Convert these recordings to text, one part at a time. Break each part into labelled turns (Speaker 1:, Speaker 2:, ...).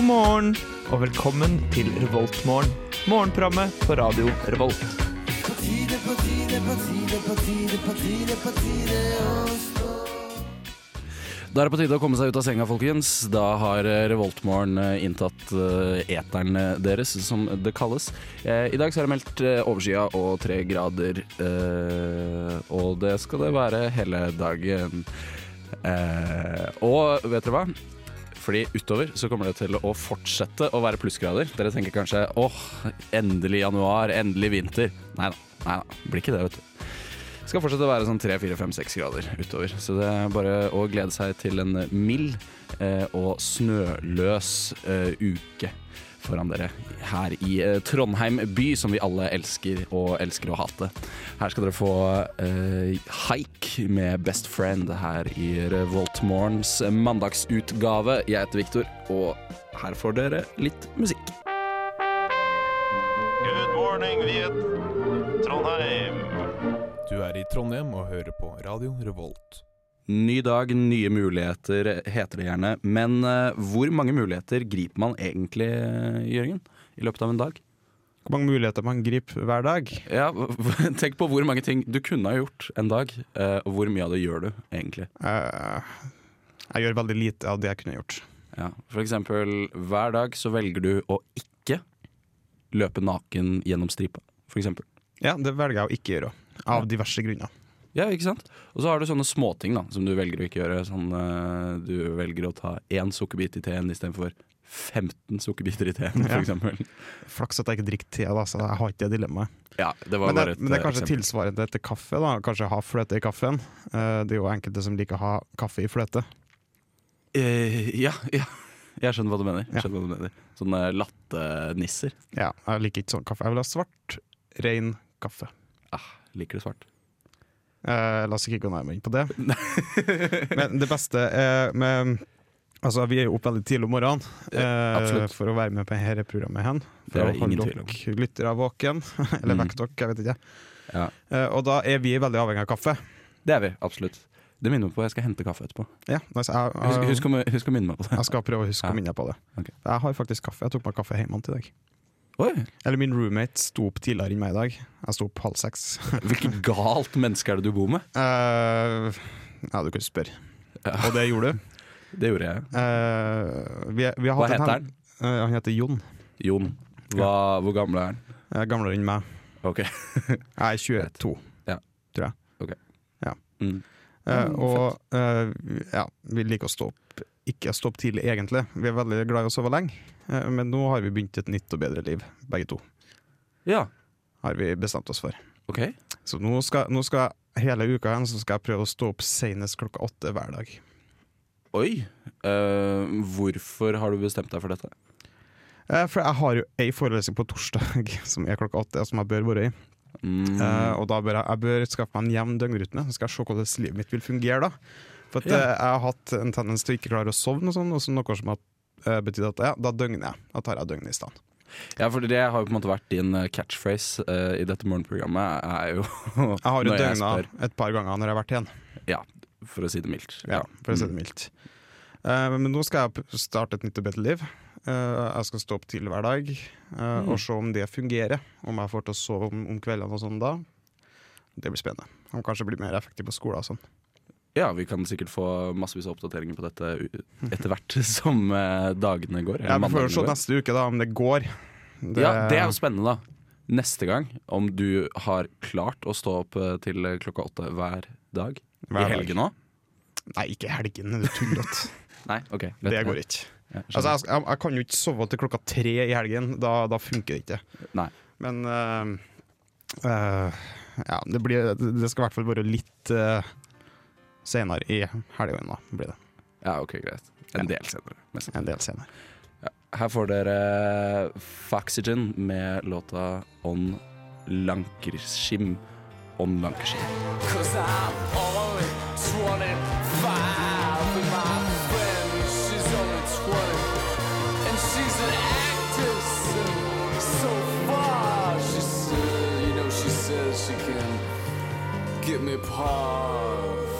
Speaker 1: morgen og velkommen til Revoltmorgen. Morgenprogrammet på radio Revolt.
Speaker 2: Da er det på tide å komme seg ut av senga, folkens. Da har eh, Revoltmorgen eh, inntatt eh, eteren eh, deres, som det kalles. Eh, I dag så er det meldt eh, overskya og tre grader, eh, og det skal det være hele dagen. Eh, og vet dere hva? Fordi utover så kommer det til å fortsette å være plussgrader. Dere tenker kanskje åh, endelig januar, endelig vinter. Nei da, nei da. Blir ikke det, vet du skal fortsette å være sånn 3-4-5-6 grader utover. Så det er bare å glede seg til en mild eh, og snøløs eh, uke foran dere her i eh, Trondheim by, som vi alle elsker og elsker å hate. Her skal dere få eh, Haik med Best Friend her i Revoltmorgens mandagsutgave. Jeg heter Viktor, og her får dere litt musikk.
Speaker 3: Good morning, Viet Trondheim.
Speaker 4: Du er i Trondheim og hører på Radio Revolt.
Speaker 2: Ny dag, nye muligheter, heter det gjerne. Men eh, hvor mange muligheter griper man egentlig, eh, Jørgen? I løpet av en dag?
Speaker 1: Hvor mange muligheter man griper hver dag?
Speaker 2: Ja, Tenk på hvor mange ting du kunne ha gjort en dag, eh, og hvor mye av det gjør du egentlig.
Speaker 1: Eh, jeg gjør veldig lite av det jeg kunne gjort.
Speaker 2: Ja. For eksempel, hver dag så velger du å ikke løpe naken gjennom stripa, for eksempel.
Speaker 1: Ja, Det velger jeg å ikke gjøre, av diverse grunner.
Speaker 2: Ja, ikke sant? Og så har du sånne småting da, som du velger å ikke gjøre. Sånn, eh, du velger å ta én sukkerbit i teen istedenfor 15 sukkerbiter i teen, for
Speaker 1: Ja.
Speaker 2: eksempel.
Speaker 1: Flaks at jeg ikke drikker te, da, så jeg har ikke det dilemmaet.
Speaker 2: Ja, det var
Speaker 1: Men det,
Speaker 2: bare et
Speaker 1: men det er
Speaker 2: eh,
Speaker 1: kanskje
Speaker 2: eksempel.
Speaker 1: tilsvarende til kaffe. da Kanskje ha fløte i kaffen. Eh, det er jo enkelte som liker å ha kaffe i fløte.
Speaker 2: Eh, ja, ja. Jeg skjønner hva du mener.
Speaker 1: Ja.
Speaker 2: Jeg skjønner hva du mener. Sånne lattenisser.
Speaker 1: Ja, Jeg liker ikke sånn kaffe. Jeg vil ha svart, ren kaffe.
Speaker 2: Ah, liker det svart.
Speaker 1: Eh, la oss ikke gå nærmere inn på det. Men det beste er med Altså, vi er jo oppe veldig tidlig om morgenen eh,
Speaker 2: absolutt.
Speaker 1: for å være med på dette programmet. hen
Speaker 2: Det
Speaker 1: For
Speaker 2: er
Speaker 1: å
Speaker 2: det
Speaker 1: holde
Speaker 2: ingen tvil om.
Speaker 1: dere lyttere våken, eller
Speaker 2: Mm.
Speaker 1: vekke dere, jeg vet ikke.
Speaker 2: Ja,
Speaker 1: Eh, og da er vi veldig avhengig av kaffe.
Speaker 2: det er vi. Absolutt. Det minner meg på Jeg skal hente kaffe etterpå.
Speaker 1: Ja, nice. jeg,
Speaker 2: Husk,
Speaker 1: jeg,
Speaker 2: husk, å, husk å minne meg på det.
Speaker 1: jeg skal prøve å huske
Speaker 2: Ja.
Speaker 1: å minne på det.
Speaker 2: Ok.
Speaker 1: Jeg har faktisk kaffe. Jeg tok meg kaffe hjemme til i dag.
Speaker 2: Oi,
Speaker 1: Eller min roommate sto opp tidligere enn meg i dag. Jeg sto opp halv seks.
Speaker 2: Hvilket galt menneske er det du bor med?
Speaker 1: Eh, ja, du kunne spørre.
Speaker 2: Ja.
Speaker 1: Og det gjorde du.
Speaker 2: Det gjorde jeg.
Speaker 1: Eh, vi, vi har
Speaker 2: Hva
Speaker 1: hatt en
Speaker 2: heter
Speaker 1: hen-
Speaker 2: han?
Speaker 1: Eh, han heter Jon.
Speaker 2: Jon. Hva, hvor gammel er han?
Speaker 1: Jeg er gamlere enn meg.
Speaker 2: Ok.
Speaker 1: Jeg er 22,
Speaker 2: Ja.
Speaker 1: tror jeg.
Speaker 2: Ok.
Speaker 1: Ja.
Speaker 2: Mm.
Speaker 1: Eh,
Speaker 2: Mm,
Speaker 1: og eh, ja, vi liker å stå opp ikke å stå opp tidlig, egentlig. Vi er veldig glad i å sove lenge, eh, men nå har vi begynt et nytt og bedre liv, begge to.
Speaker 2: Ja,
Speaker 1: Har vi bestemt oss for.
Speaker 2: OK.
Speaker 1: Så nå skal, nå skal hele uka igjen, så skal jeg prøve å stå opp senest klokka åtte hver dag.
Speaker 2: Oi. Eh, hvorfor har du bestemt deg for dette?
Speaker 1: Eh, for jeg har jo ei forelesning på torsdag som er klokka åtte, og som jeg bør være i.
Speaker 2: Mm.
Speaker 1: Eh, og da bør jeg, jeg bør skaffe meg en jevn døgnrytme, så skal jeg se hvordan livet mitt vil fungere da. For at,
Speaker 2: Ja.
Speaker 1: eh, jeg har hatt en tendens til å ikke klare å sovne og sånn, og så noe som har eh, betydd at ja, da døgner jeg. Da tar jeg døgnet i stedet.
Speaker 2: Ja, for det har jo på en måte vært din eh, catchphrase eh, i dette morgenprogrammet, er jo
Speaker 1: Jeg har jo
Speaker 2: når jeg
Speaker 1: døgna
Speaker 2: spør,
Speaker 1: et par ganger når jeg har vært igjen,
Speaker 2: for å si det mildt. Mm.
Speaker 1: ja, for å si det mildt. Eh, men nå skal jeg p- starte et nytt og bedre liv. Eh, jeg skal stå opp tidlig hver dag eh,
Speaker 2: Mm.
Speaker 1: og se om det fungerer. Om jeg får til å sove om, om kveldene og sånn da. Det blir spennende. Om kanskje blir mer effektiv på skolen og sånn.
Speaker 2: Ja, vi kan sikkert få massevis av oppdateringer på dette u- etter hvert som eh, dagene går. eller
Speaker 1: Jeg får jo
Speaker 2: mandagene
Speaker 1: se
Speaker 2: går.
Speaker 1: neste uke da om det går.
Speaker 2: Ja, det er jo spennende, da. Neste gang, om du har klart å stå opp eh, til klokka åtte hver dag. I
Speaker 1: Hver dag.
Speaker 2: helgen òg?
Speaker 1: Nei, ikke i helgen, er du tullete.
Speaker 2: Nei, OK.
Speaker 1: Det går ikke.
Speaker 2: Ja,
Speaker 1: Altså,
Speaker 2: skjønner.
Speaker 1: jeg, jeg, jeg kan jo ikke sove til klokka tre i helgen. Da, da funker det ikke.
Speaker 2: Nei.
Speaker 1: Men eh, eh, ja, det, blir, det skal i hvert fall være litt eh, senere i helgen, da. Blir det.
Speaker 2: ja, ok, greit. En del senere. mest sannsynlig.
Speaker 1: En del senere.
Speaker 2: Her får dere Faxygen med låta On Lankerskim. On Lankerskim.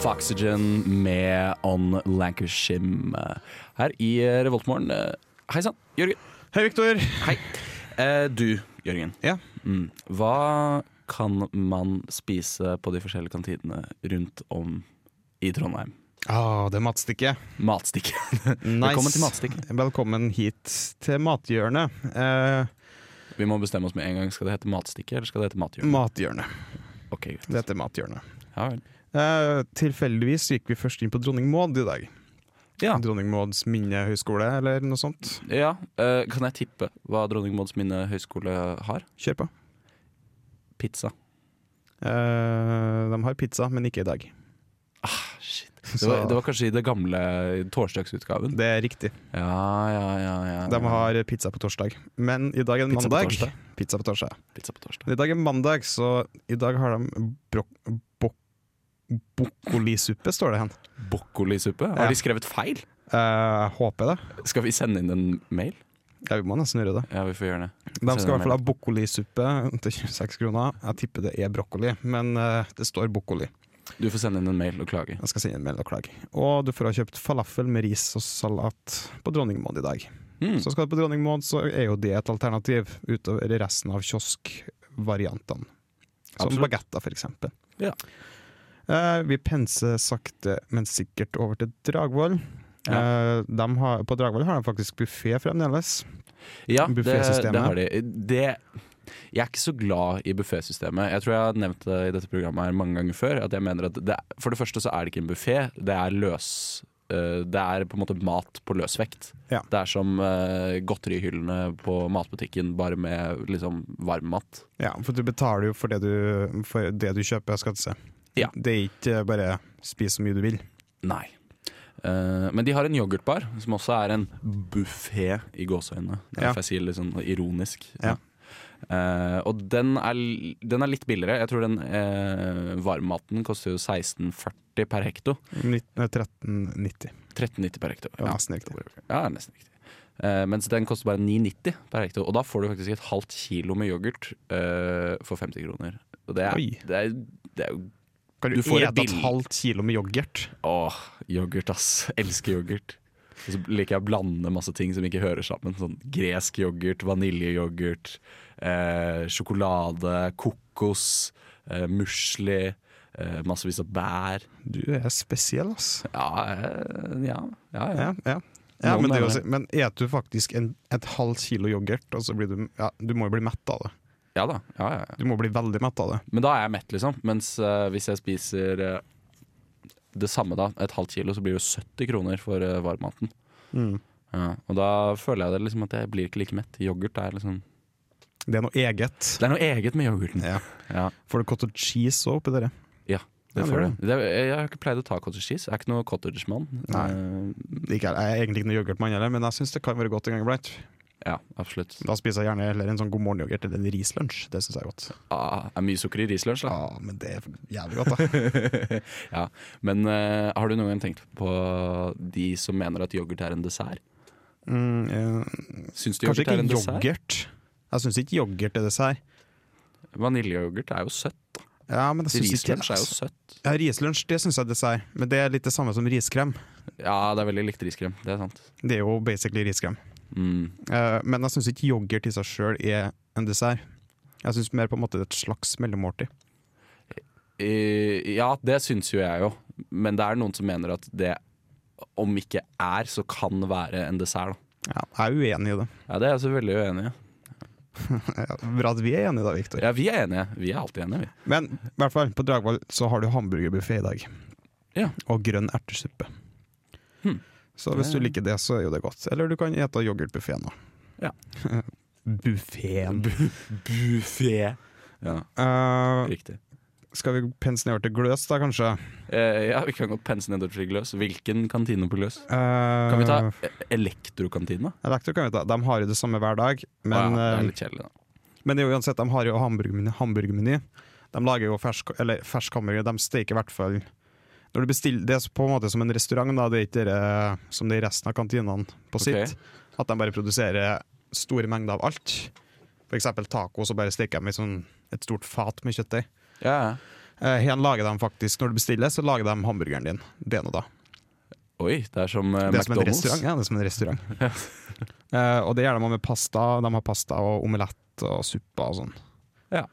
Speaker 2: Faxygen med On Lancashim her i Revoltmorgen. Hei sann, Jørgen.
Speaker 1: Hei, Viktor!
Speaker 2: Hei. Eh, du, Jørgen.
Speaker 1: Ja.
Speaker 2: Mm. Hva kan man spise på de forskjellige kantinene rundt om i Trondheim?
Speaker 1: Ah, det er matstykket.
Speaker 2: Matstikke.
Speaker 1: Nice.
Speaker 2: Velkommen til matstikke.
Speaker 1: Velkommen hit til mathjørnet. Eh,
Speaker 2: Vi må bestemme oss med en gang. Skal det hete matstikke, eller skal det hete mathjørne?
Speaker 1: mathjørnet.
Speaker 2: ok, greit.
Speaker 1: Det heter mathjørnet.
Speaker 2: Ja vel.
Speaker 1: Eh, tilfeldigvis gikk vi først inn på Dronning Maud i dag.
Speaker 2: Ja.
Speaker 1: Dronning Mauds minnehøgskole, eller noe sånt.
Speaker 2: ja. Eh, kan jeg tippe hva Dronning Mauds minne høgskole har?
Speaker 1: Kjør på.
Speaker 2: Pizza.
Speaker 1: Eh, de har pizza, men ikke i dag.
Speaker 2: Ah, Shit. Det var, det var kanskje i det gamle torsdagsutgaven?
Speaker 1: Det er riktig.
Speaker 2: Ja, ja, ja. ja.
Speaker 1: De har pizza på torsdag. Men i dag er det
Speaker 2: Pizza på
Speaker 1: mandag.
Speaker 2: torsdag?
Speaker 1: pizza på torsdag.
Speaker 2: Pizza på torsdag.
Speaker 1: Men I dag er mandag, så i dag har de brok- bok- Bokkolisuppe, står det hen.
Speaker 2: Bokkolisuppe?
Speaker 1: Ja.
Speaker 2: Har de skrevet feil?
Speaker 1: Eh, Jeg håper det.
Speaker 2: Skal vi sende inn en mail?
Speaker 1: Ja, vi må nesten gjøre det.
Speaker 2: Ja, vi får gjøre det.
Speaker 1: De skal i hvert fall ha bokkolisuppe til 26 kroner. Jeg tipper det er brokkoli, men eh, det står bokkoli.
Speaker 2: Du får sende inn en mail og klage.
Speaker 1: Jeg skal sende en mail og klage. Og du får ha kjøpt falafel med ris og salat på Dronning Maud i dag.
Speaker 2: Mm.
Speaker 1: Så skal du på Dronning Maud, så er jo det et alternativ utover resten av kioskvariantene. Som
Speaker 2: Absolutt.
Speaker 1: bagetter, for eksempel.
Speaker 2: Ja.
Speaker 1: Eh, vi penser sakte, men sikkert over til Dragvoll. Eh, dem har, på Dragvoll har de faktisk buffé fremdeles.
Speaker 2: Ja, det,
Speaker 1: Buffetsystemet.
Speaker 2: det har de. Det, jeg er ikke så glad i buffésystemet. Jeg tror jeg har nevnt det i dette programmet her mange ganger før. At jeg mener at det, For det første så er det ikke en buffé, det er løs eh, Det er på en måte mat på løsvekt.
Speaker 1: Ja.
Speaker 2: Det er som eh, godterihyllene på matbutikken, bare med liksom varm mat.
Speaker 1: Ja, for du betaler jo for det du, for det du kjøper, skal du se.
Speaker 2: Ja.
Speaker 1: Det er ikke bare spis så mye du vil.
Speaker 2: Nei. Eh, men de har en yoghurtbar, som også er en buffé i gåseøynene. Det er
Speaker 1: Ja.
Speaker 2: Derfor jeg sier litt sånn ironisk.
Speaker 1: Ja.
Speaker 2: Eh, og den er, l- den er litt billigere. Jeg tror den eh, varmmaten koster jo 16,40 per hekto.
Speaker 1: 19, 13,90.
Speaker 2: 13,90 per hekto.
Speaker 1: Det var nesten riktig.
Speaker 2: Ja, nesten riktig. Eh, mens den koster bare 9,90 per hekto. Og da får du faktisk et halvt kilo med yoghurt eh, for 50 kroner. Og det er,
Speaker 1: Oi.
Speaker 2: det er, det er jo
Speaker 1: Kan
Speaker 2: Du
Speaker 1: du,
Speaker 2: får et
Speaker 1: ete et
Speaker 2: bilde.
Speaker 1: halvt kilo med yoghurt?
Speaker 2: Åh, yoghurt ass. Elsker yoghurt. Og så liker jeg å blande masse ting som ikke hører sammen. Sånn gresk yoghurt, vaniljeyoghurt, eh, sjokolade, kokos, eh, musli, eh, massevis av bær.
Speaker 1: Du er spesiell, ass.
Speaker 2: Ja, eh, ja, ja. ja.
Speaker 1: Ja, ja. ja
Speaker 2: Noen
Speaker 1: men det er jo,
Speaker 2: mener
Speaker 1: si- men et du faktisk en, et halvt kilo yoghurt, og så blir du ja, Du må jo bli mett av det.
Speaker 2: ja da. Ja, ja, ja.
Speaker 1: Du må bli veldig mett av det.
Speaker 2: Men da er jeg mett, liksom. Mens eh, hvis jeg spiser eh, det samme, da, et halvt kilo, så blir det jo 70 kroner for eh, varmmaten. Mm. Ja, og da føler jeg det liksom at jeg blir ikke like mett. Yoghurt er liksom
Speaker 1: Det er noe eget.
Speaker 2: Det er noe eget med yoghurten.
Speaker 1: Ja.
Speaker 2: Ja.
Speaker 1: Får du cottage cheese òg oppi dere?
Speaker 2: Det
Speaker 1: Ja,
Speaker 2: får
Speaker 1: det
Speaker 2: du. Det, er- jeg har ikke pleid å ta cottage cheese. Jeg er ikke noe cottagemann.
Speaker 1: Nei.
Speaker 2: Eh,
Speaker 1: Det er ikke- Jeg er egentlig ikke noe yoghurtmann heller, men jeg syns det kan være godt en gang iblant.
Speaker 2: ja, absolutt.
Speaker 1: Da spiser jeg gjerne heller en sånn god morgen-yoghurt eller en rislunsj. Det syns jeg er godt.
Speaker 2: Ah, det er mye sukker i rislunsj, da.
Speaker 1: Ja, men det er jævlig godt, da.
Speaker 2: ja. Men eh, har du noen gang tenkt på de som mener at yoghurt er en dessert?
Speaker 1: Mm, eh,
Speaker 2: Syns du
Speaker 1: kanskje
Speaker 2: yoghurt
Speaker 1: ikke
Speaker 2: er en dessert?
Speaker 1: yoghurt. Jeg syns ikke yoghurt er dessert.
Speaker 2: Vaniljeyoghurt er jo søtt.
Speaker 1: Ja, men jeg synes ikke
Speaker 2: Rislunsj er jo søtt.
Speaker 1: ja, Rislunsj det syns jeg er dessert, men det er litt det samme som riskrem.
Speaker 2: Ja, det er veldig likt riskrem. Det er sant.
Speaker 1: Det er jo basically riskrem.
Speaker 2: Mm.
Speaker 1: Eh, men jeg syns ikke yoghurt i seg sjøl er en dessert. Jeg syns mer på en måte det er et slags mellommåltid.
Speaker 2: Eh, ja, det syns jo jeg jo. Men det er noen som mener at det, om ikke er, så kan være en dessert. Da.
Speaker 1: Ja, jeg er uenig i det.
Speaker 2: Ja, Det er jeg så veldig uenig i.
Speaker 1: Ja, Bra at vi er enige da, Viktor.
Speaker 2: Ja, vi er enige. Vi er alltid enige, vi.
Speaker 1: Men i hvert fall, på Dragvoll så har du hamburgerbuffé i dag.
Speaker 2: Ja.
Speaker 1: Og grønn ertesuppe.
Speaker 2: Hmm.
Speaker 1: Så hvis du
Speaker 2: Ja.
Speaker 1: liker det, så er jo det godt. Eller du kan ete yoghurtbuffeen òg.
Speaker 2: Ja.
Speaker 1: Buffeen.
Speaker 2: Buffé. Ja,
Speaker 1: Eh,
Speaker 2: riktig.
Speaker 1: skal vi pense nedover til Gløs, da, kanskje?
Speaker 2: Eh, ja, vi kan godt pense nedover til Gløs. Hvilken kantine på Gløs?
Speaker 1: kan
Speaker 2: Kan vi ta eh, elektrokantina?
Speaker 1: Elektro kan vi ta. De har jo det samme hver dag, men,
Speaker 2: Men, ja, det
Speaker 1: eh,
Speaker 2: er litt kjedelig, da.
Speaker 1: men det er jo uansett, de har jo hamburgermeny. hamburgermeny. De lager jo fersk, eller fersk hamburger, de steker i hvert fall når du bestiller, Det er på en måte som en restaurant, da. det er ikke det som det er i resten av kantinene på
Speaker 2: Ok.
Speaker 1: sitt. At de bare produserer store mengder av alt. For eksempel taco, så bare steker de i sånn, et stort fat med kjøttdeig.
Speaker 2: Ja, ja.
Speaker 1: Eh, Her lager de faktisk, Når du bestiller, så lager de hamburgeren din. Det er noe da.
Speaker 2: Oi, det er som eh,
Speaker 1: Det er som en
Speaker 2: McDonald's.
Speaker 1: restaurant. Ja, det er som en restaurant. Eh, og det gjør de også med pasta. De har pasta og omelett og suppa og sånn.
Speaker 2: Ja.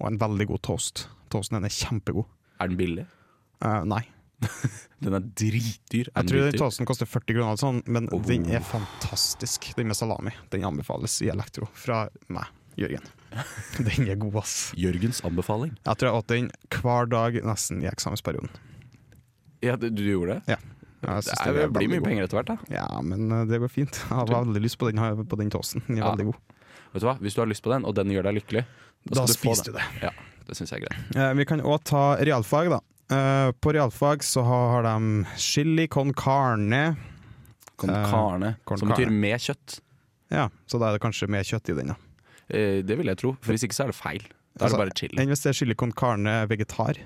Speaker 1: Og en veldig god toast. Toasten den er kjempegod.
Speaker 2: Er den billig?
Speaker 1: Eh, nei.
Speaker 2: Den er dritdyr. Er
Speaker 1: Jeg
Speaker 2: den
Speaker 1: tror den
Speaker 2: dritdyr?
Speaker 1: toasten koster 40 kroner, eller sånn, men
Speaker 2: Oh.
Speaker 1: den er fantastisk. Den med salami. Den anbefales i Elektro fra meg, Jørgen. Den er god, ass.
Speaker 2: Jørgens anbefaling.
Speaker 1: Jeg tror jeg åt den hver dag nesten i eksamensperioden.
Speaker 2: Ja, du, du gjorde det?
Speaker 1: Ja. Jeg
Speaker 2: Det,
Speaker 1: synes
Speaker 2: er,
Speaker 1: den
Speaker 2: det
Speaker 1: er
Speaker 2: blir
Speaker 1: veldig
Speaker 2: mye
Speaker 1: god.
Speaker 2: penger etter hvert, da.
Speaker 1: Ja, men eh, det går fint. Jeg har veldig lyst på den, her- på den toasten. Den er
Speaker 2: Ja.
Speaker 1: veldig god.
Speaker 2: Vet du hva? Hvis du har lyst på den, og den gjør deg lykkelig, da, skal
Speaker 1: Da
Speaker 2: du få
Speaker 1: spiser
Speaker 2: den.
Speaker 1: du det.
Speaker 2: Ja, det syns jeg er greit.
Speaker 1: Eh, Vi kan òg ta realfag, da. Eh, På realfag så har de chili con carne.
Speaker 2: Con
Speaker 1: Eh,
Speaker 2: carne,
Speaker 1: con
Speaker 2: som betyr
Speaker 1: carne.
Speaker 2: med kjøtt.
Speaker 1: Ja, Så da er det kanskje mer kjøtt i den. da
Speaker 2: Eh, det vil jeg tro, for hvis ikke så er det feil. Da er
Speaker 1: Altså,
Speaker 2: det bare chili.
Speaker 1: Enn hvis det er chili con carne vegetar.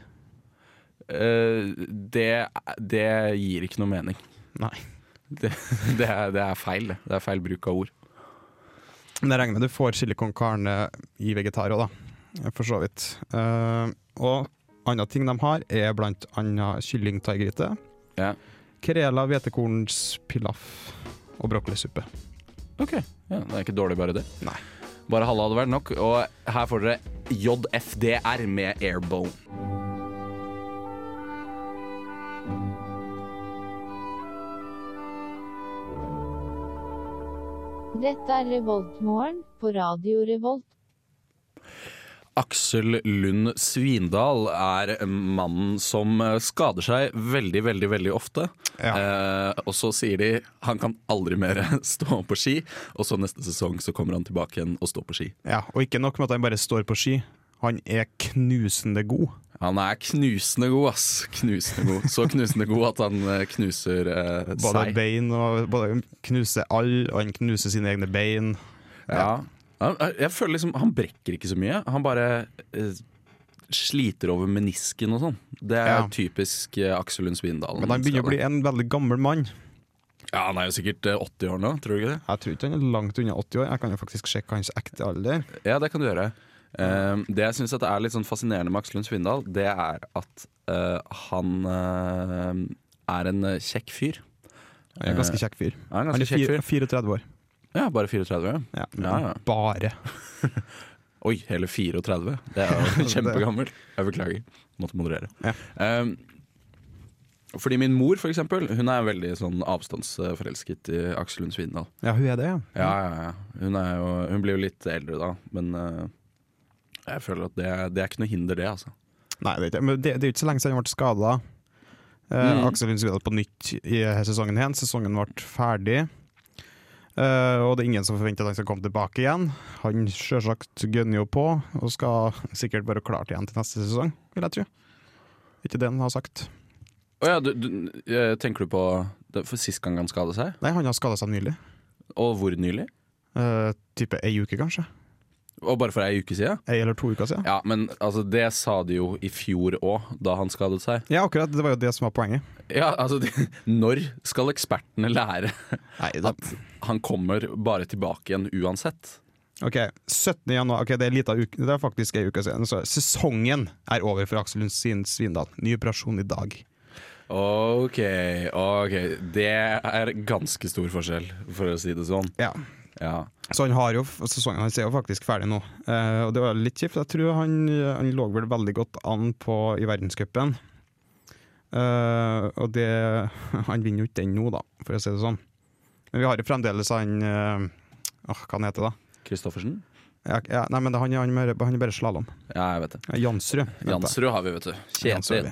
Speaker 2: Eh, det, det gir ikke noe mening.
Speaker 1: Nei.
Speaker 2: Det, det, er, det er feil, det. Det er feil bruk av ord.
Speaker 1: Men jeg regner med du får chili con carne i vegetar òg, da. For så vidt. Eh, Og andre ting de har, er blant annet kyllingtaigryte.
Speaker 2: Ja.
Speaker 1: Krela, hvetekornspilaf og brokkolisuppe.
Speaker 2: Ok, ja, Det er ikke dårlig, bare det.
Speaker 1: Nei.
Speaker 2: Bare halve hadde vært nok. Og her får dere JFDR med Airbone.
Speaker 5: Dette er Revoltmorgen på Radio Revolt.
Speaker 2: Aksel Lund Svindal er mannen som skader seg veldig, veldig veldig ofte. Eh, og så sier de han kan aldri mer stå på ski, og så neste sesong så kommer han tilbake igjen og står på ski.
Speaker 1: Ja, og ikke nok med at han bare står på ski, han er knusende god.
Speaker 2: Han er knusende god, ass. Knusende god. Så knusende god at han eh, knuser eh,
Speaker 1: Både
Speaker 2: seg.
Speaker 1: bein og både han knuser all, og han knuser sine egne bein.
Speaker 2: Ja. Han- Jeg føler liksom Han brekker ikke så mye. Han bare eh, sliter over menisken og sånn. Det er
Speaker 1: Ja.
Speaker 2: typisk eh, Aksel Lund Svindal.
Speaker 1: Men han begynner å bli en veldig gammel mann.
Speaker 2: Ja, han er jo sikkert eh, 80 år nå, tror du ikke det?
Speaker 1: Jeg tror ikke han er langt unna 80 år. Jeg kan jo faktisk sjekke hans ekte alder.
Speaker 2: Ja, det kan du gjøre. Eh, det jeg syns er litt sånn fascinerende med Aksel Lund Svindal, det er at eh, han eh, er en eh, kjekk fyr.
Speaker 1: Han er en ganske kjekk fyr.
Speaker 2: Han er en
Speaker 1: Han
Speaker 2: Eh, ganske
Speaker 1: er
Speaker 2: kjekk
Speaker 1: fire-
Speaker 2: fyr.
Speaker 1: 34 år.
Speaker 2: Ja, bare 34. ja.
Speaker 1: Ja,
Speaker 2: Ja, ja.
Speaker 1: Bare.
Speaker 2: Oi, hele 34. Det er jo kjempegammelt. Jeg beklager. Måtte moderere.
Speaker 1: Ja.
Speaker 2: Ehm, fordi min mor, for eksempel, hun er veldig sånn avstandsforelsket i Aksel Lund Svindal.
Speaker 1: Ja, hun er det, ja.
Speaker 2: Ja, ja, ja. Hun, er jo, hun blir jo litt eldre da, men eh, jeg føler at det, det er ikke noe hinder, det, altså.
Speaker 1: Nei, det er, ikke, men det, det er jo ikke så lenge siden han ble skada. Eh,
Speaker 2: Mhm.
Speaker 1: Aksel Lund Svindal på nytt i eh, sesongen igjen. Sesongen ble ferdig. Eh, og det er ingen som forventer at han skal komme tilbake igjen. Han sjølsagt gønner jo på, og skal sikkert være klart igjen til neste sesong, vil jeg tro. Ikke det han har sagt.
Speaker 2: Å ja, du, du, eh, tenker du på det, for sist gang han skadet seg?
Speaker 1: Nei, han har skada seg nylig.
Speaker 2: Og hvor nylig?
Speaker 1: Eh, type ei uke, kanskje.
Speaker 2: Og bare for ei uke siden?
Speaker 1: Ei eller to uker siden.
Speaker 2: Ja, men altså, det sa de jo i fjor òg, da han skadet seg.
Speaker 1: Ja, akkurat. Det var jo det som var poenget.
Speaker 2: Ja, altså, når skal ekspertene lære
Speaker 1: Nei, det-
Speaker 2: at han kommer bare tilbake igjen uansett.
Speaker 1: Ok, 17. januar, ok, det er, lita uke, det er faktisk en uke siden. Så sesongen er over for Aksel Lund Svin- Svindal. Ny operasjon i dag.
Speaker 2: Ok, ok. Det er ganske stor forskjell, for å si det sånn.
Speaker 1: Ja.
Speaker 2: Ja.
Speaker 1: Så han har jo, sesongen hans er jo faktisk ferdig nå. Eh, og det var litt kjipt. Jeg tror han, han lå vel veldig godt an på i verdenscupen. Eh, og det Han vinner jo ikke den nå, da, for å si det sånn. Men vi har jo fremdeles han eh, åh, Hva han heter da?
Speaker 2: Kristoffersen?
Speaker 1: Ja, ja, nei, men det, han, er- han, er, han er bare slalåm.
Speaker 2: Ja, jeg vet det.
Speaker 1: Jansrud. vent da.
Speaker 2: Jansrud har vi, vet du.
Speaker 1: Jansrud,
Speaker 2: Kjetil.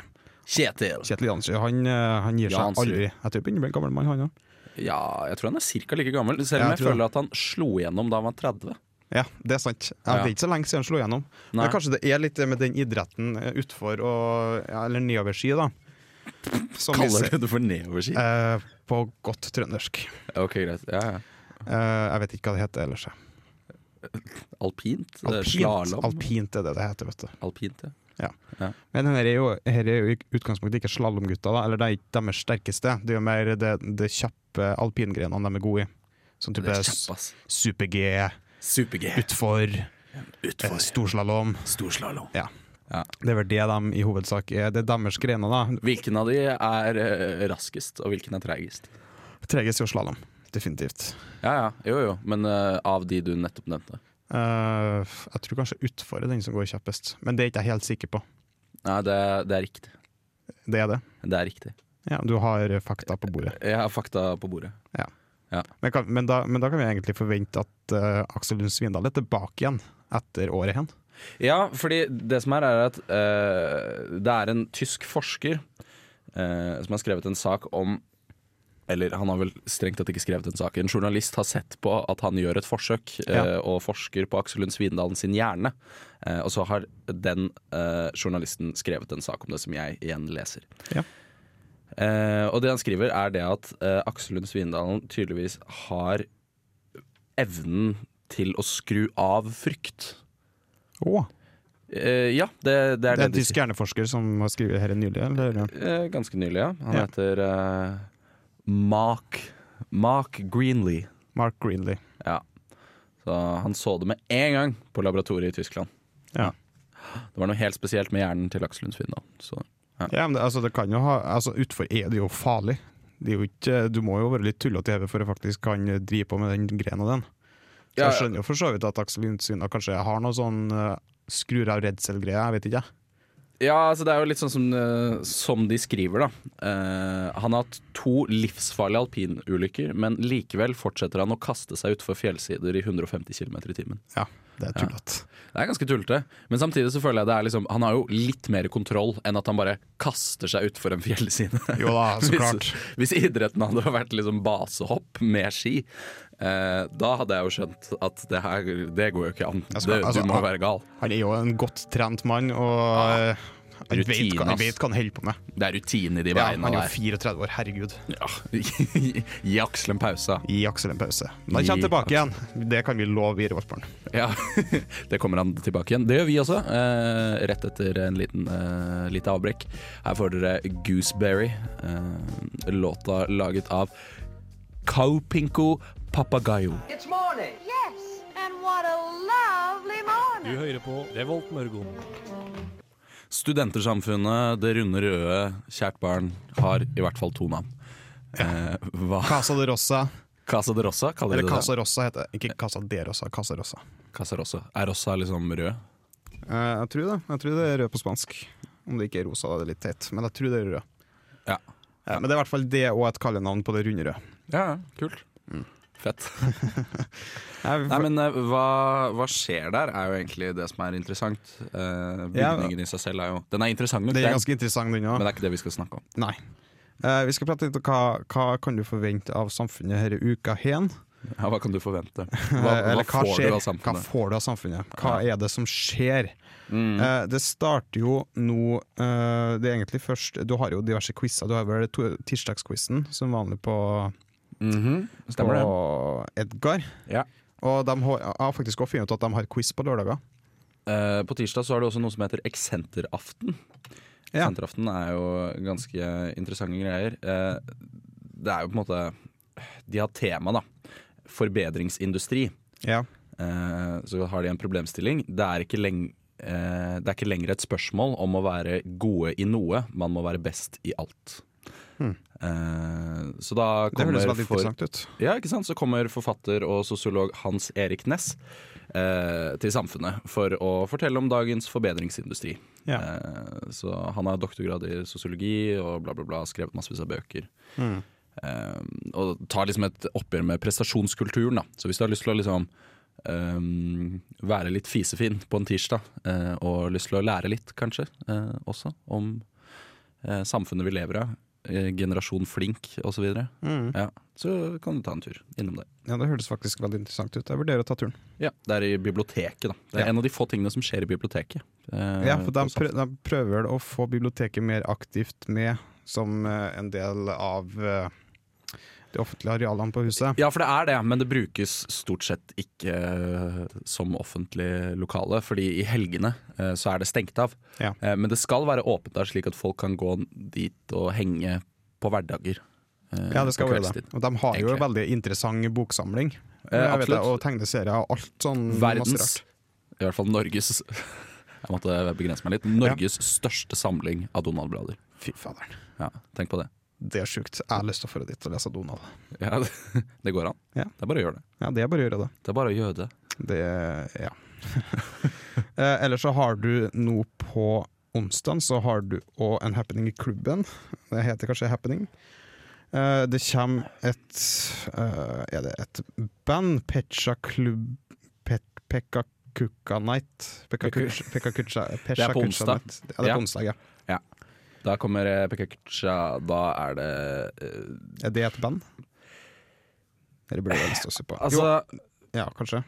Speaker 2: Kjetil.
Speaker 1: Kjetil Jansrud. Han, eh, han gir seg
Speaker 2: Jansrud.
Speaker 1: aldri. Jeg tror han begynner å bli en gammel mann, han òg.
Speaker 2: Ja, jeg tror han er ca. like gammel, selv
Speaker 1: Ja,
Speaker 2: om
Speaker 1: jeg
Speaker 2: jeg,
Speaker 1: tror det.
Speaker 2: føler at han slo igjennom da han var 30.
Speaker 1: Ja, det er sant. Ja,
Speaker 2: Ja.
Speaker 1: Det er ikke så lenge siden han slo gjennom.
Speaker 2: Nei.
Speaker 1: Men kanskje det er litt det med den idretten eh, utfor og ja, eller nedover ski, da. Som vi
Speaker 2: Kaller
Speaker 1: ser-
Speaker 2: du det for nedoverski?
Speaker 1: eh, på godt trøndersk.
Speaker 2: Ok, greit. Ja, ja.
Speaker 1: Eh, jeg vet ikke hva det heter ellers. jeg.
Speaker 2: Alpint?
Speaker 1: Alpint,
Speaker 2: Slalåm?
Speaker 1: alpint er det det heter, vet du.
Speaker 2: Alpint, ja.
Speaker 1: Men her er jo, her er jo i utgangspunktet ikke slalåmgutta, da, eller det er ikke deres sterkeste. Det er jo mer det, det kjappe alpingrenene de er gode i. Sånn
Speaker 2: Det
Speaker 1: type
Speaker 2: er kjapp, ass.
Speaker 1: super-G,
Speaker 2: Super-G.
Speaker 1: utfor, eh,
Speaker 2: Utfor.
Speaker 1: storslalåm.
Speaker 2: Storslalåm.
Speaker 1: Ja.
Speaker 2: Ja.
Speaker 1: Det er vel det de i hovedsak er. Det er deres grener, da.
Speaker 2: Hvilken av de er eh, raskest, og hvilken er treigest?
Speaker 1: Tregest i slalåm, definitivt.
Speaker 2: Ja, ja, jo jo, men eh, av de du nettopp nevnte.
Speaker 1: Eh, jeg tror kanskje utfor er den som går kjappest, men det er ikke jeg helt sikker på.
Speaker 2: Nei, det, det er riktig.
Speaker 1: Det er det.
Speaker 2: Det er riktig.
Speaker 1: Ja, du har fakta på bordet.
Speaker 2: Jeg har fakta på bordet.
Speaker 1: Men, kan, men, da, men da kan vi egentlig forvente at eh, Aksel Lund Svindal er tilbake igjen etter året hen.
Speaker 2: Ja, fordi det som er, er at eh, det er en tysk forsker eh, som har skrevet en sak om eller han har vel strengt tatt ikke skrevet en sak. En journalist har sett på at han gjør et forsøk,
Speaker 1: Ja.
Speaker 2: eh, og forsker på Aksel Lund Svindalen sin hjerne. Eh, og så har den eh, journalisten skrevet en sak om det, som jeg igjen leser.
Speaker 1: Ja.
Speaker 2: Eh, og det han skriver, er det at eh, Aksel Lund Svindalen tydeligvis har evnen til å skru av frykt.
Speaker 1: Å,
Speaker 2: Eh, ja, det, det
Speaker 1: det
Speaker 2: er
Speaker 1: er
Speaker 2: det,
Speaker 1: en tysk hjerneforsker som har skrevet dette nylig, eller?
Speaker 2: Eh, ganske nylig, ja. Han
Speaker 1: Ja.
Speaker 2: heter eh, Mark, Mark Greenlee.
Speaker 1: Mark Greenley.
Speaker 2: Ja. Så han så det med en gang på laboratoriet i Tyskland.
Speaker 1: Ja.
Speaker 2: Det var noe helt spesielt med hjernen til Aksel Lund Svindal. Så
Speaker 1: Ja, men det, altså, det kan jo ha altså, Utfor er det jo farlig. Det er jo ikke, du må jo være litt tullete i hodet for å faktisk kan drive på med den grena den. Så
Speaker 2: Ja,
Speaker 1: jeg
Speaker 2: ja.
Speaker 1: skjønner jo for så vidt at Aksel Lund Svindal kanskje har noe sånn uh, skrur av redsel-greie, jeg vet ikke. jeg.
Speaker 2: Ja, altså det er jo litt sånn som, eh, som de skriver, da. Eh, han har hatt to livsfarlige alpinulykker, men likevel fortsetter han å kaste seg utfor fjellsider i 150 km i timen.
Speaker 1: Ja, det er tullete.
Speaker 2: Det er ganske tullete, men samtidig så føler jeg det er liksom Han har jo litt mer kontroll enn at han bare kaster seg utfor en fjellside.
Speaker 1: Jo da, så
Speaker 2: Hvis-
Speaker 1: klart.
Speaker 2: Hvis idretten hadde vært liksom basehopp med ski, eh, da hadde jeg jo skjønt at det her det går jo ikke an.
Speaker 1: Jeg skal-
Speaker 2: det,
Speaker 1: altså,
Speaker 2: du må
Speaker 1: han-
Speaker 2: være gal.
Speaker 1: Han er jo en godt trent mann, og eh, han vet,
Speaker 2: Rutine,
Speaker 1: hva- han
Speaker 2: ass.
Speaker 1: vet hva han holder på med.
Speaker 2: Det er rutine i de
Speaker 1: Ja,
Speaker 2: veiene
Speaker 1: han er jo
Speaker 2: der.
Speaker 1: 34 år, herregud.
Speaker 2: Ja. Gi Aksel en pause.
Speaker 1: Gi Aksel en pause. Men han
Speaker 2: Gi
Speaker 1: kommer tilbake igjen, det kan vi love i Revoltbarn.
Speaker 2: Ja, Det kommer han tilbake igjen. Det gjør vi også, eh, rett etter en liten eh, lite avbrekk. Her får dere Gooseberry, eh, låta laget av Kaupinko Papagayo.
Speaker 6: It's morning. Yes, and what a lovely morning.
Speaker 2: Studentersamfunnet, Det runde røde, Kjært barn har i hvert fall to navn. Eh, hva?
Speaker 1: Casa de Rossa,
Speaker 2: Casa de Rosa, kaller de
Speaker 1: eller
Speaker 2: det?
Speaker 1: Casa Rossa heter det. Ikke Casa de Rossa, Casa Rossa.
Speaker 2: Casa Rosa. Er Rosa liksom rød?
Speaker 1: Eh, jeg tror det. Jeg tror det er rød på spansk. Om det ikke er rosa, da er det litt teit. Men jeg tror det er rød.
Speaker 2: Ja.
Speaker 1: Eh, men det er i hvert fall det og et kallenavn på det runde røde.
Speaker 2: Ja, ja, kult. Mm. Fett.
Speaker 1: Jeg,
Speaker 2: Nei, men eh, hva, hva skjer der, er jo egentlig det som er interessant. Eh,
Speaker 1: Ja.
Speaker 2: bygningen i seg selv er jo Den er interessant nok,
Speaker 1: det er
Speaker 2: den,
Speaker 1: ganske interessant, den
Speaker 2: men
Speaker 1: òg.
Speaker 2: det er ikke det vi skal snakke om.
Speaker 1: Nei. Eh, vi skal prate litt om hva, hva kan du forvente av samfunnet denne uka hen.
Speaker 2: Ja, hva kan du forvente? Hva,
Speaker 1: Eh,
Speaker 2: hva
Speaker 1: eller hva
Speaker 2: får
Speaker 1: skjer?
Speaker 2: du av
Speaker 1: Hva
Speaker 2: samfunnet?
Speaker 1: får du av samfunnet? Hva er det som skjer?
Speaker 2: Mm.
Speaker 1: Eh, det starter jo nå eh, Det er egentlig først Du har jo diverse quizer. Du har vel to- tirsdagsquizen som vanlig på,
Speaker 2: Mhm,
Speaker 1: på
Speaker 2: Stemmer det?
Speaker 1: Edgar.
Speaker 2: Ja.
Speaker 1: Og de har, jeg har faktisk også funnet ut at de har quiz på lørdager.
Speaker 2: Eh, på tirsdag så har du også noe som heter eksenteraften.
Speaker 1: Ja.
Speaker 2: Senteraften er jo ganske interessante greier. Eh, Det er jo på en måte De har tema, da. Forbedringsindustri.
Speaker 1: Ja.
Speaker 2: Eh, Så har de en problemstilling. Det er ikke leng eh, det er ikke lenger et spørsmål om å være gode i noe, man må være best i alt. Eh, Så da
Speaker 1: Hmm. Det
Speaker 2: kommer
Speaker 1: høres veldig
Speaker 2: for-
Speaker 1: interessant ut.
Speaker 2: ja, ikke sant? Så kommer forfatter og sosiolog Hans Erik Næss eh, til Samfunnet for å fortelle om dagens forbedringsindustri.
Speaker 1: Ja.
Speaker 2: Eh, så han har doktorgrad i sosiologi og bla, bla, bla, skrevet massevis av bøker. Eh, og tar liksom et oppgjør med prestasjonskulturen, da. Så hvis du har lyst til å liksom eh, være litt fisefin på en tirsdag, eh, og lyst til å lære litt, kanskje, eh, også, om eh, samfunnet vi lever av, eh, generasjon flink osv.
Speaker 1: Mm.
Speaker 2: Ja, så kan du ta en tur innom det.
Speaker 1: Ja, det høres faktisk veldig interessant ut. Jeg vurderer å ta turen.
Speaker 2: Ja, Det er i biblioteket, da. Det er
Speaker 1: Ja.
Speaker 2: en av de få tingene som skjer i biblioteket. Eh,
Speaker 1: Ja, for de,
Speaker 2: på
Speaker 1: prø- de prøver vel å få biblioteket mer aktivt med som eh, en del av eh, de offentlige arealene på huset.
Speaker 2: Ja, for det er det, men det brukes stort sett ikke eh, som offentlig lokale. Fordi i helgene eh, så er det stengt av.
Speaker 1: Ja.
Speaker 2: Eh, Men det skal være åpent der, slik at folk kan gå dit og henge på hverdager. eh,
Speaker 1: Ja, det skal
Speaker 2: på
Speaker 1: være det.
Speaker 2: kveldstid.
Speaker 1: Og de har jo en
Speaker 2: Egentlig.
Speaker 1: veldig interessant boksamling.
Speaker 2: Eh,
Speaker 1: Jeg vet det,
Speaker 2: absolutt.
Speaker 1: og tegneserier og alt sånn. masse
Speaker 2: Verdens,
Speaker 1: rart.
Speaker 2: i hvert fall Norges Jeg måtte begrense meg litt. Norges største samling av Donald-blader.
Speaker 1: Fy faderen.
Speaker 2: Ja, tenk på det.
Speaker 1: Det er sjukt. Jeg har lyst til å dra dit og lese Donald.
Speaker 2: Ja, det, det går an.
Speaker 1: Ja.
Speaker 2: Det er bare å gjøre det.
Speaker 1: Ja, det er bare å gjøre det.
Speaker 2: Det er bare å gjøre det.
Speaker 1: Det ja. eh, ellers så har du nå på onsdag så har du òg en happening i klubben. Det heter kanskje Happening. Eh, det kommer et eh, Er det et band? Pecha Klubb Pet, Pekka Kukka Night? Pekka
Speaker 2: Peku-
Speaker 1: Kutsja- Pekka Kutsja
Speaker 2: Det er på
Speaker 1: Pesha Kutsja
Speaker 2: onsdag.
Speaker 1: Night. Ja, det er
Speaker 2: Ja.
Speaker 1: på onsdag, ja.
Speaker 2: Da kommer eh, Pekakucha Da er det eh,
Speaker 1: Er det et band? Dere burde vel stå på.
Speaker 2: Altså,
Speaker 1: jo, ja, kanskje.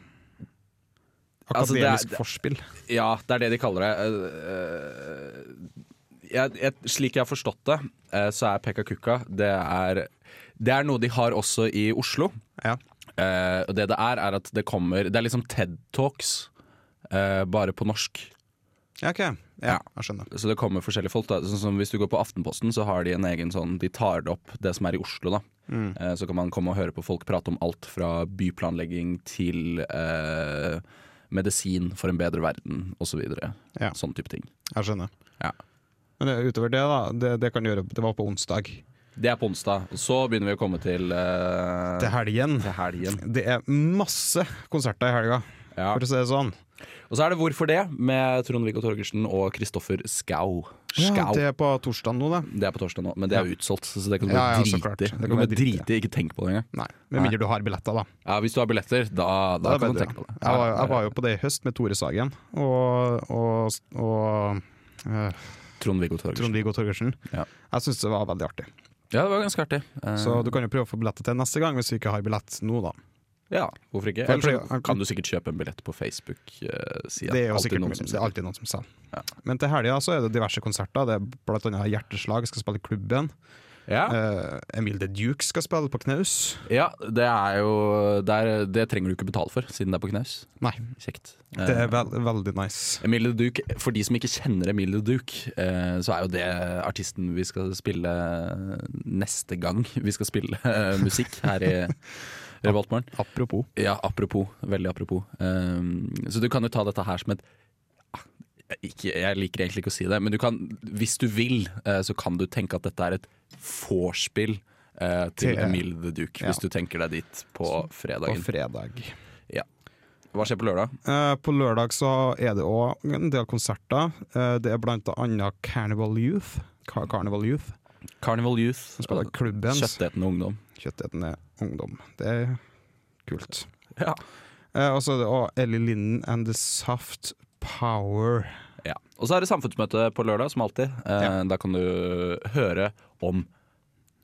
Speaker 2: Altså, det
Speaker 1: Akademisk
Speaker 2: er-
Speaker 1: forspill.
Speaker 2: ja, det er det de kaller det. Eh, eh, jeg, jeg, slik jeg har forstått det, eh, så er Pekakucha det er, det er noe de har også i Oslo.
Speaker 1: Ja.
Speaker 2: Eh, og det det er, er at det kommer Det er liksom TED Talks, eh, bare på norsk.
Speaker 1: Ja, ok.
Speaker 2: Ja.
Speaker 1: Ja, jeg skjønner.
Speaker 2: Så det kommer forskjellige folk. Da. Sånn som hvis du går på Aftenposten, så har de en egen sånn De tar det opp, det som er i Oslo, da.
Speaker 1: Mm.
Speaker 2: Eh, Så kan man komme og høre på folk prate om alt fra byplanlegging til eh, medisin for en bedre verden, osv.
Speaker 1: Ja.
Speaker 2: Ja. Sånn type ting.
Speaker 1: Jeg skjønner.
Speaker 2: Ja.
Speaker 1: Men eh, utover det, da. Det, det kan du gjøre. Det var på onsdag.
Speaker 2: Det er på onsdag. Så begynner vi å komme til eh,
Speaker 1: Til helgen.
Speaker 2: til helgen.
Speaker 1: Det er masse konserter i helga,
Speaker 2: Ja.
Speaker 1: for å si det sånn.
Speaker 2: Og så er det 'Hvorfor det?' med Trond-Viggo Torgersen og Kristoffer Skau.
Speaker 1: Ja,
Speaker 2: Skau.
Speaker 1: det
Speaker 2: det...
Speaker 1: er på torsdag nå, det.
Speaker 2: er på torsdag nå, men det er
Speaker 1: Ja.
Speaker 2: utsolgt, så det kan du
Speaker 1: Ja,
Speaker 2: bare
Speaker 1: ja, så klart.
Speaker 2: drite i. Du
Speaker 1: Det kan
Speaker 2: kan
Speaker 1: jeg
Speaker 2: bare
Speaker 1: drite i.
Speaker 2: drite i, ikke tenk på det engang.
Speaker 1: Nei, Med mindre du har billetter, da.
Speaker 2: Ja, hvis du har billetter, da, da
Speaker 1: Da
Speaker 2: kan
Speaker 1: vet
Speaker 2: man
Speaker 1: du.
Speaker 2: tenke på det.
Speaker 1: Jeg var, jeg var jo på det i høst med Tore Sagen og, og, og eh,
Speaker 2: Trond-Viggo Torgersen.
Speaker 1: Trond-Viggo Torgersen.
Speaker 2: Ja.
Speaker 1: Jeg syns det var veldig artig.
Speaker 2: Ja, det var ganske artig. Eh,
Speaker 1: Så du kan jo prøve å få billetter til neste gang, hvis du ikke har billett nå, da.
Speaker 2: ja, hvorfor ikke?
Speaker 1: For-
Speaker 2: Ellers så
Speaker 1: for-
Speaker 2: kan du sikkert kjøpe en billett på eh, Facebook-sida.
Speaker 1: Det er jo sikkert det er alltid noen som selger.
Speaker 2: Ja.
Speaker 1: Men til helga så er det diverse konserter. Det er blant annet Hjerteslag skal spille i klubben.
Speaker 2: Ja,
Speaker 1: Eh, Emil The Duke skal spille på knaus.
Speaker 2: ja, det er jo det, er, det trenger du ikke betale for, siden det er på knaus.
Speaker 1: Nei,
Speaker 2: Kjekt. Eh,
Speaker 1: det er vel- veldig nice.
Speaker 2: Emilie Duke, For de som ikke kjenner Emilie Duke, eh, så er jo det artisten vi skal spille eh, neste gang vi skal spille eh, musikk her i Revoltmorgen.
Speaker 1: Apropos.
Speaker 2: Ja, apropos. Veldig apropos. Ehm, så du kan jo ta dette her som et ikke, Jeg liker egentlig ikke å si det, men du kan, hvis du vil, eh, så kan du tenke at dette er et vorspiel eh, til
Speaker 1: Til-
Speaker 2: Emil the Duke,
Speaker 1: ja.
Speaker 2: hvis du tenker deg dit på
Speaker 1: På
Speaker 2: fredagen.
Speaker 1: fredag.
Speaker 2: Hva skjer på lørdag?
Speaker 1: Eh, på lørdag så er det òg en del konserter. Eh, det er blant annet Carnival Youth. Car Carnival Youth
Speaker 2: Carnival Youth.
Speaker 1: som spiller i klubben.
Speaker 2: Kjøttetende ungdom.
Speaker 1: Kjøttetende ungdom. Det er kult.
Speaker 2: Ja.
Speaker 1: Eh, og så er det òg Ellie Linden and The Soft Power.
Speaker 2: Ja. Og så er det samfunnsmøte på lørdag, som alltid. Eh,
Speaker 1: Ja.
Speaker 2: Da kan du høre om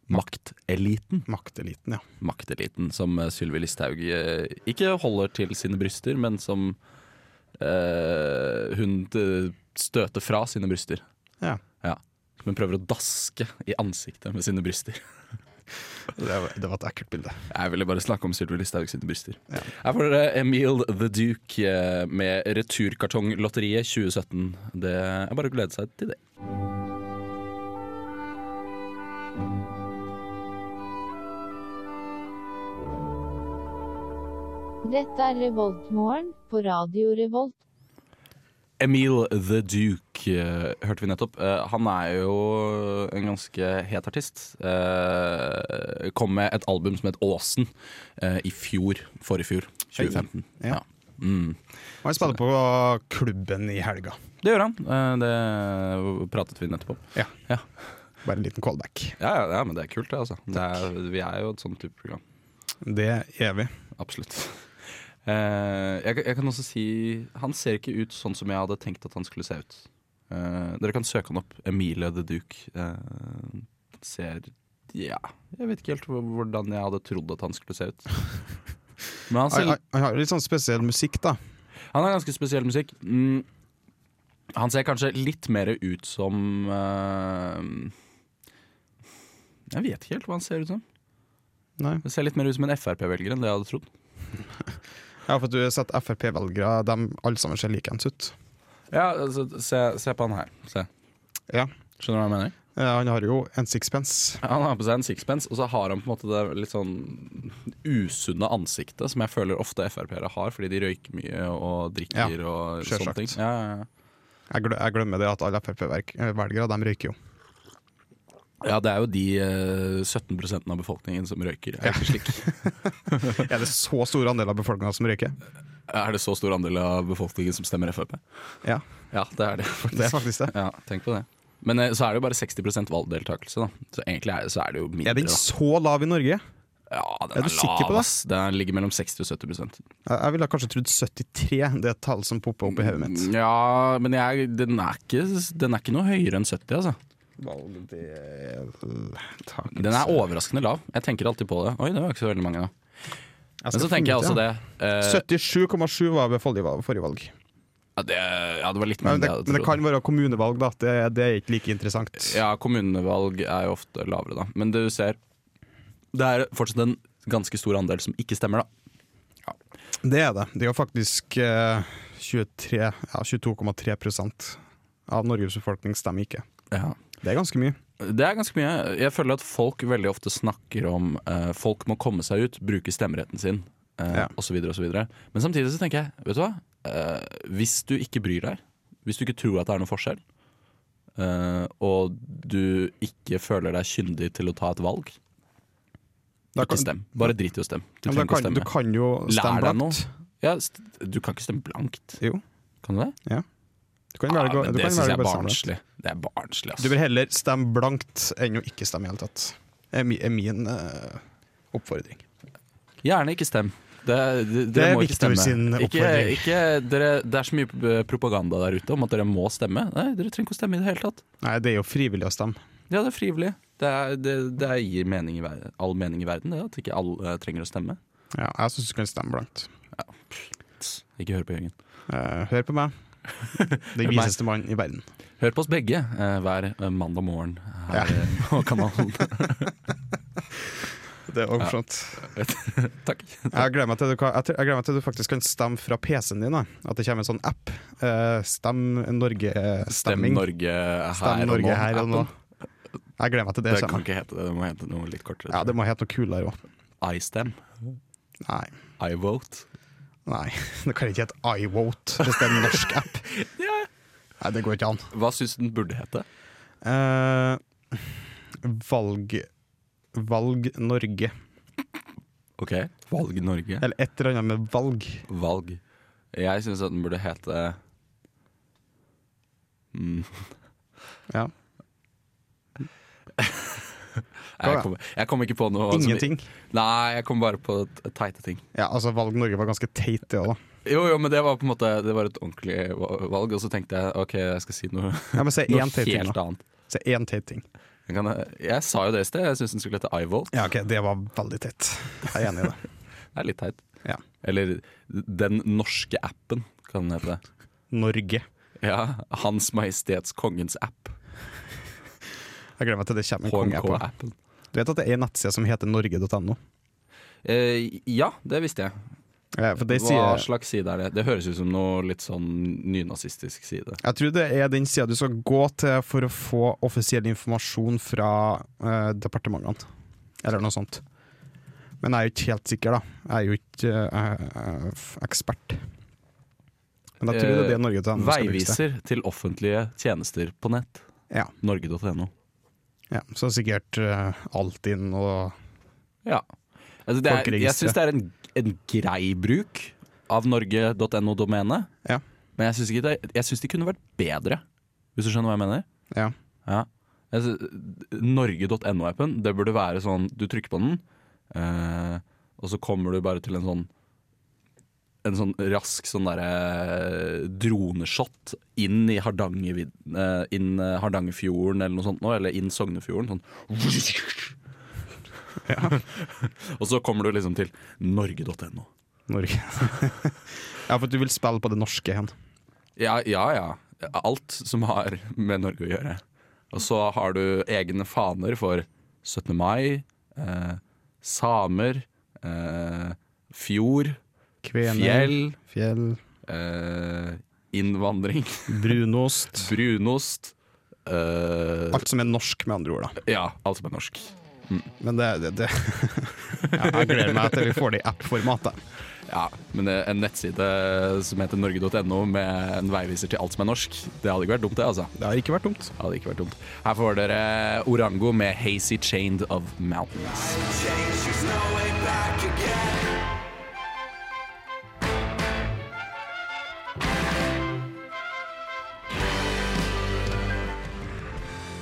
Speaker 2: makteliten.
Speaker 1: Makteliten, ja.
Speaker 2: Makteliten, som eh, Sylvi Listhaug eh, ikke holder til sine bryster, men som eh, hun eh, støter fra sine bryster.
Speaker 1: Ja.
Speaker 2: Ja. Som hun prøver å daske i ansiktet med sine bryster.
Speaker 1: Det var, det var et ekkelt bilde.
Speaker 2: Jeg ville bare snakke om Sylvi Listhaug sine bryster.
Speaker 1: Ja.
Speaker 2: Her får dere Emil The Duke eh, med Returkartonglotteriet 2017. Det er bare å glede seg til det.
Speaker 5: Dette er Revoltmorgen på Radio Revolt.
Speaker 2: Emil The Duke eh, hørte vi nettopp. Eh, han er jo en ganske het artist. Eh, kom med et album som het Åsen eh, i fjor. Forrige fjor. 2015.
Speaker 1: Hei. Ja.
Speaker 2: Mm.
Speaker 1: Og han spiller på klubben i helga.
Speaker 2: Det gjør han. Eh, det pratet vi nettopp om.
Speaker 1: Ja.
Speaker 2: Ja.
Speaker 1: Bare en liten callback.
Speaker 2: Ja, ja, ja, men det er kult, det. altså det er, Vi er jo et sånn type program.
Speaker 1: Det er vi.
Speaker 2: Absolutt. Eh, jeg, jeg kan også si Han ser ikke ut sånn som jeg hadde tenkt at han skulle se ut. Eh, dere kan søke han opp. Emilie the Duke eh, ser Ja, jeg vet ikke helt hvor- hvordan jeg hadde trodd at han skulle se ut. Men han, ser,
Speaker 1: Han, han- han har litt sånn spesiell musikk, da.
Speaker 2: han har ganske spesiell musikk. Mm, han ser kanskje litt mer ut som eh, Jeg vet ikke helt hva han ser ut som.
Speaker 1: Nei.
Speaker 2: Han ser litt mer ut som en Frp-velger enn det jeg hadde trodd.
Speaker 1: Ja, for du har sett Frp-velgere, de alle sammen ser likeens ut.
Speaker 2: Ja, altså, se, se på han her. Se.
Speaker 1: Ja.
Speaker 2: Skjønner du hva jeg mener?
Speaker 1: Eh, Han har jo en sixpence.
Speaker 2: Han har på seg en sixpence, og så har han på en måte det litt sånn usunne ansiktet som jeg føler ofte Frp-ere har, fordi de røyker mye og drikker og
Speaker 1: selvsagt.
Speaker 2: sånne ting. Ja, ja, ja.
Speaker 1: Jeg, gle- jeg glemmer det at alle Frp-velgere de røyker jo.
Speaker 2: Ja, det er jo de eh, 17 av befolkningen som røyker. Er, det ikke slik?
Speaker 1: Er det så stor andel av befolkninga som røyker?
Speaker 2: er det så stor andel av befolkningen som stemmer Frp?
Speaker 1: Ja,
Speaker 2: Ja, det er det. faktisk.
Speaker 1: det er faktisk det.
Speaker 2: Ja, tenk på det. Men eh, så er det jo bare 60 valgdeltakelse, da. Så egentlig er, så er det jo mindre.
Speaker 1: Er den
Speaker 2: da.
Speaker 1: så lav i Norge?
Speaker 2: Ja, den
Speaker 1: Er
Speaker 2: er,
Speaker 1: du sikker på
Speaker 2: lav,
Speaker 1: det?
Speaker 2: ass. Den ligger mellom 60 og 70
Speaker 1: Jeg jeg ville kanskje trodd 73, det er et tall som popper opp i hodet
Speaker 2: Mm.
Speaker 1: mitt.
Speaker 2: Ja, men jeg, den, er ikke, den er ikke noe høyere enn 70, altså.
Speaker 1: mm, Valgdeltakelse
Speaker 2: Den er overraskende lav. Jeg tenker alltid på det. Oi, det var ikke så veldig mange, da. Men så tenker jeg også det. eh,
Speaker 1: 77,7 var ved forrige valg- forrige valg.
Speaker 2: ja, det ja, det var litt mer
Speaker 1: Men
Speaker 2: enn
Speaker 1: det,
Speaker 2: jeg hadde
Speaker 1: men det
Speaker 2: trodd.
Speaker 1: kan være kommunevalg, da. at Det, det er ikke like interessant.
Speaker 2: Ja, kommunevalg er jo ofte lavere, da. Men det du ser, det er fortsatt en ganske stor andel som ikke stemmer, da.
Speaker 1: Det er det. Det er jo faktisk eh, 23 ja, 22,3 av Norges befolkning stemmer ikke.
Speaker 2: Ja.
Speaker 1: Det er ganske mye.
Speaker 2: Det er ganske mye. Jeg føler at folk veldig ofte snakker om eh, folk må komme seg ut, bruke stemmeretten sin eh,
Speaker 1: Ja.
Speaker 2: og så videre og så videre Men samtidig så tenker jeg, vet du hva? Eh, hvis du ikke bryr deg, hvis du ikke tror at det er noen forskjell, eh, og du ikke føler deg kyndig til å ta et valg,
Speaker 1: Da
Speaker 2: ikke
Speaker 1: kan-
Speaker 2: stem. Bare drit i å stemme. Du
Speaker 1: Ja,
Speaker 2: trenger
Speaker 1: men da
Speaker 2: ikke å
Speaker 1: kan, du
Speaker 2: stemme.
Speaker 1: kan jo stemme
Speaker 2: Lær deg noe.
Speaker 1: blankt.
Speaker 2: Ja, st du kan ikke stemme blankt.
Speaker 1: Jo,
Speaker 2: Kan du det?
Speaker 1: du kan velge,
Speaker 2: ja, men
Speaker 1: du
Speaker 2: det
Speaker 1: kan
Speaker 2: syns
Speaker 1: velge
Speaker 2: jeg er
Speaker 1: bare å stemme.
Speaker 2: barnslig. Det er barnslig, ass.
Speaker 1: Du bør heller stemme blankt enn å ikke stemme i hele tatt. Er, mi, er min eh, oppfordring.
Speaker 2: Gjerne ikke stem. Det, det,
Speaker 1: Det
Speaker 2: dere
Speaker 1: er
Speaker 2: må ikke
Speaker 1: Victor
Speaker 2: stemme.
Speaker 1: sin
Speaker 2: ikke,
Speaker 1: oppfordring.
Speaker 2: ikke, dere, det er så mye eh, propaganda der ute om at dere må stemme. Nei, Dere trenger ikke å stemme i det hele tatt.
Speaker 1: Nei, det er jo frivillig å stemme.
Speaker 2: Ja, det er frivillig. Det, er, det, det er- gir mening i, ver- all mening i verden, det, at ikke alle eh, trenger å stemme.
Speaker 1: Ja, jeg syns du kan stemme blankt.
Speaker 2: Ikke hør på Jørgen.
Speaker 1: Eh, hør på meg. Den
Speaker 2: meg.
Speaker 1: viseste mannen i verden.
Speaker 2: Hør på oss begge eh, hver eh, mandag morgen
Speaker 1: Ja.
Speaker 2: her eh, på kanalen.
Speaker 1: Det er overfront.
Speaker 2: Takk.
Speaker 1: Jeg gleder meg til du, kan- jeg tror- jeg gleder meg til du faktisk kan stemme fra PC-en din. Da. At det kommer en sånn app. Eh, stem
Speaker 2: Stem
Speaker 1: Norge-stemming.
Speaker 2: Norge her
Speaker 1: Stem
Speaker 2: og nå.
Speaker 1: Norge her og nå.
Speaker 2: Appen.
Speaker 1: Jeg gleder meg til
Speaker 2: Det
Speaker 1: det
Speaker 2: kan
Speaker 1: kommer.
Speaker 2: ikke hete det, det må hete noe litt kortere.
Speaker 1: Ja, det må hete noe kulere òg.
Speaker 2: iStem.
Speaker 1: Nei.
Speaker 2: iVote.
Speaker 1: Nei, det kan ikke hete iVote hvis det er en norsk app. Nei, det går ikke an.
Speaker 2: Hva syns du den burde hete?
Speaker 1: Eh, valg Valg Norge.
Speaker 2: Ok, Valg Norge.
Speaker 1: Eller et eller annet med valg.
Speaker 2: valg. Jeg syns at den burde hete mm.
Speaker 1: Ja.
Speaker 2: jeg, kom, jeg kom ikke på noe som-
Speaker 1: Ingenting.
Speaker 2: Nei, jeg kom bare på t- teite ting.
Speaker 1: Ja, altså Valg Norge var ganske teit, det òg, da.
Speaker 2: Jo, jo, men det var på en måte Det var et ordentlig va- valg, og så tenkte jeg OK, jeg skal si noe,
Speaker 1: Ja, men si
Speaker 2: noe
Speaker 1: én teit ting,
Speaker 2: helt
Speaker 1: da.
Speaker 2: annet.
Speaker 1: Si én teit ting.
Speaker 2: Jeg, kan, jeg sa jo det i sted, jeg syns den skulle hete iVolt.
Speaker 1: Ja, ok, det var veldig teit. Jeg er enig i det.
Speaker 2: Det er litt teit.
Speaker 1: Ja.
Speaker 2: Eller Den norske appen, kan den hete.
Speaker 1: Norge.
Speaker 2: Ja, Hans Majestets Kongens app.
Speaker 1: Jeg gleder meg til det kommer en konge på.
Speaker 2: HMK-appen.
Speaker 1: Du vet at det er en nettside som heter norge.no?
Speaker 2: Eh, ja, det visste jeg.
Speaker 1: Eh, For det
Speaker 2: Hva
Speaker 1: sier
Speaker 2: slags side er det? Det høres ut som noe litt sånn nynazistisk side.
Speaker 1: jeg tror det er den sida du skal gå til for å få offisiell informasjon fra eh, departementene, eller noe sånt. Men jeg er jo ikke helt sikker, da. Jeg er jo ikke eh, eh, f- ekspert. Men jeg tror det er det
Speaker 2: Eh,
Speaker 1: norge.no skal brukes til.
Speaker 2: Veiviser til offentlige tjenester på nett.
Speaker 1: Ja.
Speaker 2: Norge.no.
Speaker 1: Ja, så sikkert eh, Altinn og
Speaker 2: Ja. Altså det er,
Speaker 1: Folkeregisteret.
Speaker 2: jeg syns det er en, en grei bruk av norge.no-domenet,
Speaker 1: Ja.
Speaker 2: men jeg syns ikke det, jeg synes det kunne vært bedre, hvis du skjønner hva jeg mener.
Speaker 1: Ja.
Speaker 2: Ja. Jeg sy- Norge.no-appen, det burde være sånn Du trykker på den, eh, og så kommer du bare til en sånn En sånn rask sånn derre eh, droneshot inn i Hardangervid- eh, inn, eh, Hardangerfjorden eller noe sånt nå, eller inn Sognefjorden. Sånn Og så kommer du liksom til norge.no.
Speaker 1: Norge. ja, for du vil spille på det norske hen.
Speaker 2: Ja, ja, ja. Alt som har med Norge å gjøre. Og så har du egne faner for 17. mai, eh, samer, eh, fjord,
Speaker 1: Kvener,
Speaker 2: fjell,
Speaker 1: fjell,
Speaker 2: eh, innvandring,
Speaker 1: brunost
Speaker 2: brunost eh,
Speaker 1: Alt som er norsk, med andre ord. da
Speaker 2: Ja, alt som er norsk.
Speaker 1: Men det, det, det. Ja, Jeg gleder meg til vi får det i app-format. da.
Speaker 2: Ja, men eh, en nettside som heter norge.no med en veiviser til alt som er norsk, det hadde ikke vært dumt, det, altså.
Speaker 1: Det har ikke vært dumt.
Speaker 2: Det hadde ikke vært dumt. Her får dere Orango med 'Hazy Chained of Mountains'.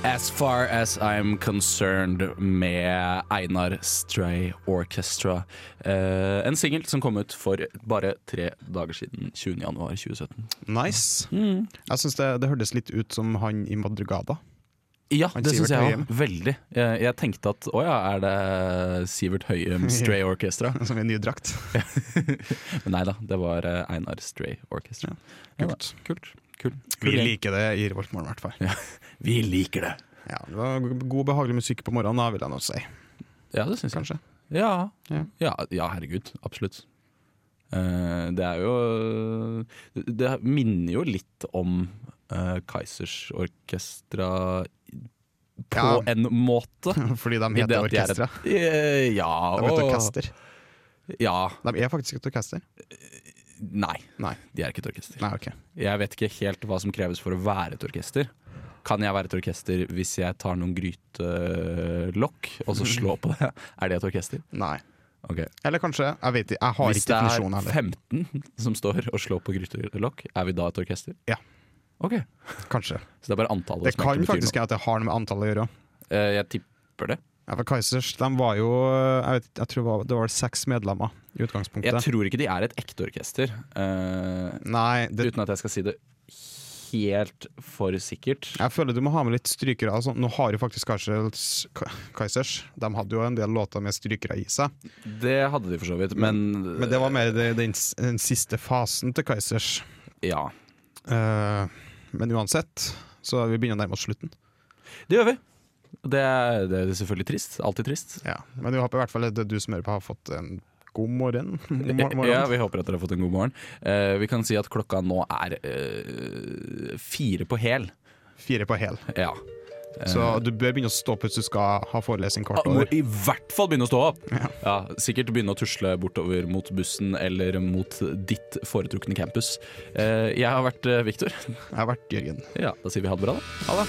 Speaker 2: As Far As I'm Concerned med Einar Stray Orchestra. Eh, en singel som kom ut for bare tre dager siden, 20.1.2017.
Speaker 1: Nice. Jeg syns det, det hørtes litt ut som han i Madrugada.
Speaker 2: Ja,
Speaker 1: Han
Speaker 2: det syns
Speaker 1: Sivert
Speaker 2: jeg
Speaker 1: Høyem.
Speaker 2: òg. Veldig. Jeg, jeg tenkte at å ja, er det Sivert Høyem Stray Orchestra?
Speaker 1: Som i ny drakt.
Speaker 2: Men nei da, det var eh, Einar Stray Orchestra. Ja,
Speaker 1: Kult.
Speaker 2: da. kult. Kult.
Speaker 1: Vi
Speaker 2: Kul gjeng.
Speaker 1: liker det i Revoltmorgen, i hvert fall.
Speaker 2: Vi liker det.
Speaker 1: Ja, det var god, behagelig musikk på morgenen, da, vil jeg nå si.
Speaker 2: Ja, det syns jeg.
Speaker 1: Kanskje.
Speaker 2: Ja.
Speaker 1: Ja.
Speaker 2: Ja, ja, herregud. Absolutt. Eh, det er jo Det minner jo litt om eh, Kaizers orkestra på
Speaker 1: Ja.
Speaker 2: en måte.
Speaker 1: Fordi de
Speaker 2: I det
Speaker 1: heter
Speaker 2: at de er et-
Speaker 1: orkestra.
Speaker 2: Eh, ja,
Speaker 1: De er et
Speaker 2: og-
Speaker 1: orkester.
Speaker 2: Ja.
Speaker 1: De er faktisk et orkester.
Speaker 2: Nei,
Speaker 1: Nei.
Speaker 2: de er ikke et orkester.
Speaker 1: Nei, ok.
Speaker 2: Jeg vet ikke helt hva som kreves for å være et orkester. Kan jeg være et orkester hvis jeg tar noen grytelokk og så slår på det? Er det et orkester?
Speaker 1: Nei.
Speaker 2: Ok.
Speaker 1: Eller kanskje. Jeg vet ikke. Jeg har
Speaker 2: Hvis
Speaker 1: ikke
Speaker 2: det er
Speaker 1: definisjonen heller.
Speaker 2: 15 som står og slår på grytelokk, er vi da et orkester?
Speaker 1: Ja.
Speaker 2: Ok.
Speaker 1: Kanskje.
Speaker 2: Så det er bare antallet
Speaker 1: Det
Speaker 2: som
Speaker 1: kan
Speaker 2: egentlig betyr
Speaker 1: faktisk
Speaker 2: noe.
Speaker 1: være at det har noe med antallet å gjøre.
Speaker 2: Eh, Jeg tipper det.
Speaker 1: Ja, for Kaizers de var jo Jeg, vet, ikke, jeg tror det var, det var seks medlemmer i utgangspunktet.
Speaker 2: Jeg tror ikke de er et ekte orkester. eh,
Speaker 1: Nei, det,
Speaker 2: Uten at jeg skal si det helt for sikkert.
Speaker 1: jeg føler du må ha med litt strykere. Altså, nå har jo faktisk Kaizers, Ka- Kaizers De hadde jo en del låter med strykere i seg.
Speaker 2: Det hadde de for så vidt, men,
Speaker 1: Men det var mer det- den, s- den siste fasen til Kaizers.
Speaker 2: Ja.
Speaker 1: Eh, men uansett, så vi begynner å nærme oss slutten.
Speaker 2: Det gjør vi. Det er, det er selvfølgelig trist. Alltid trist.
Speaker 1: Ja. Men vi håper i hvert fall at du som hører på, har fått en god morgen. God mor- morgen.
Speaker 2: Ja, Vi håper at dere har fått en god morgen. Eh, vi kan si at klokka nå er eh, fire på hæl.
Speaker 1: Fire på hel.
Speaker 2: Ja.
Speaker 1: Så du bør begynne å stå opp hvis du skal ha forelesning
Speaker 2: Eh. Ah,
Speaker 1: kvart
Speaker 2: Må
Speaker 1: over.
Speaker 2: i hvert fall begynne å stå opp! Ja. sikkert begynne å tusle bortover mot bussen eller mot ditt foretrukne campus. Eh, jeg har vært eh, Victor.
Speaker 1: Jeg har vært Jørgen.
Speaker 2: Ja, da sier vi ha det bra, da. Ha det.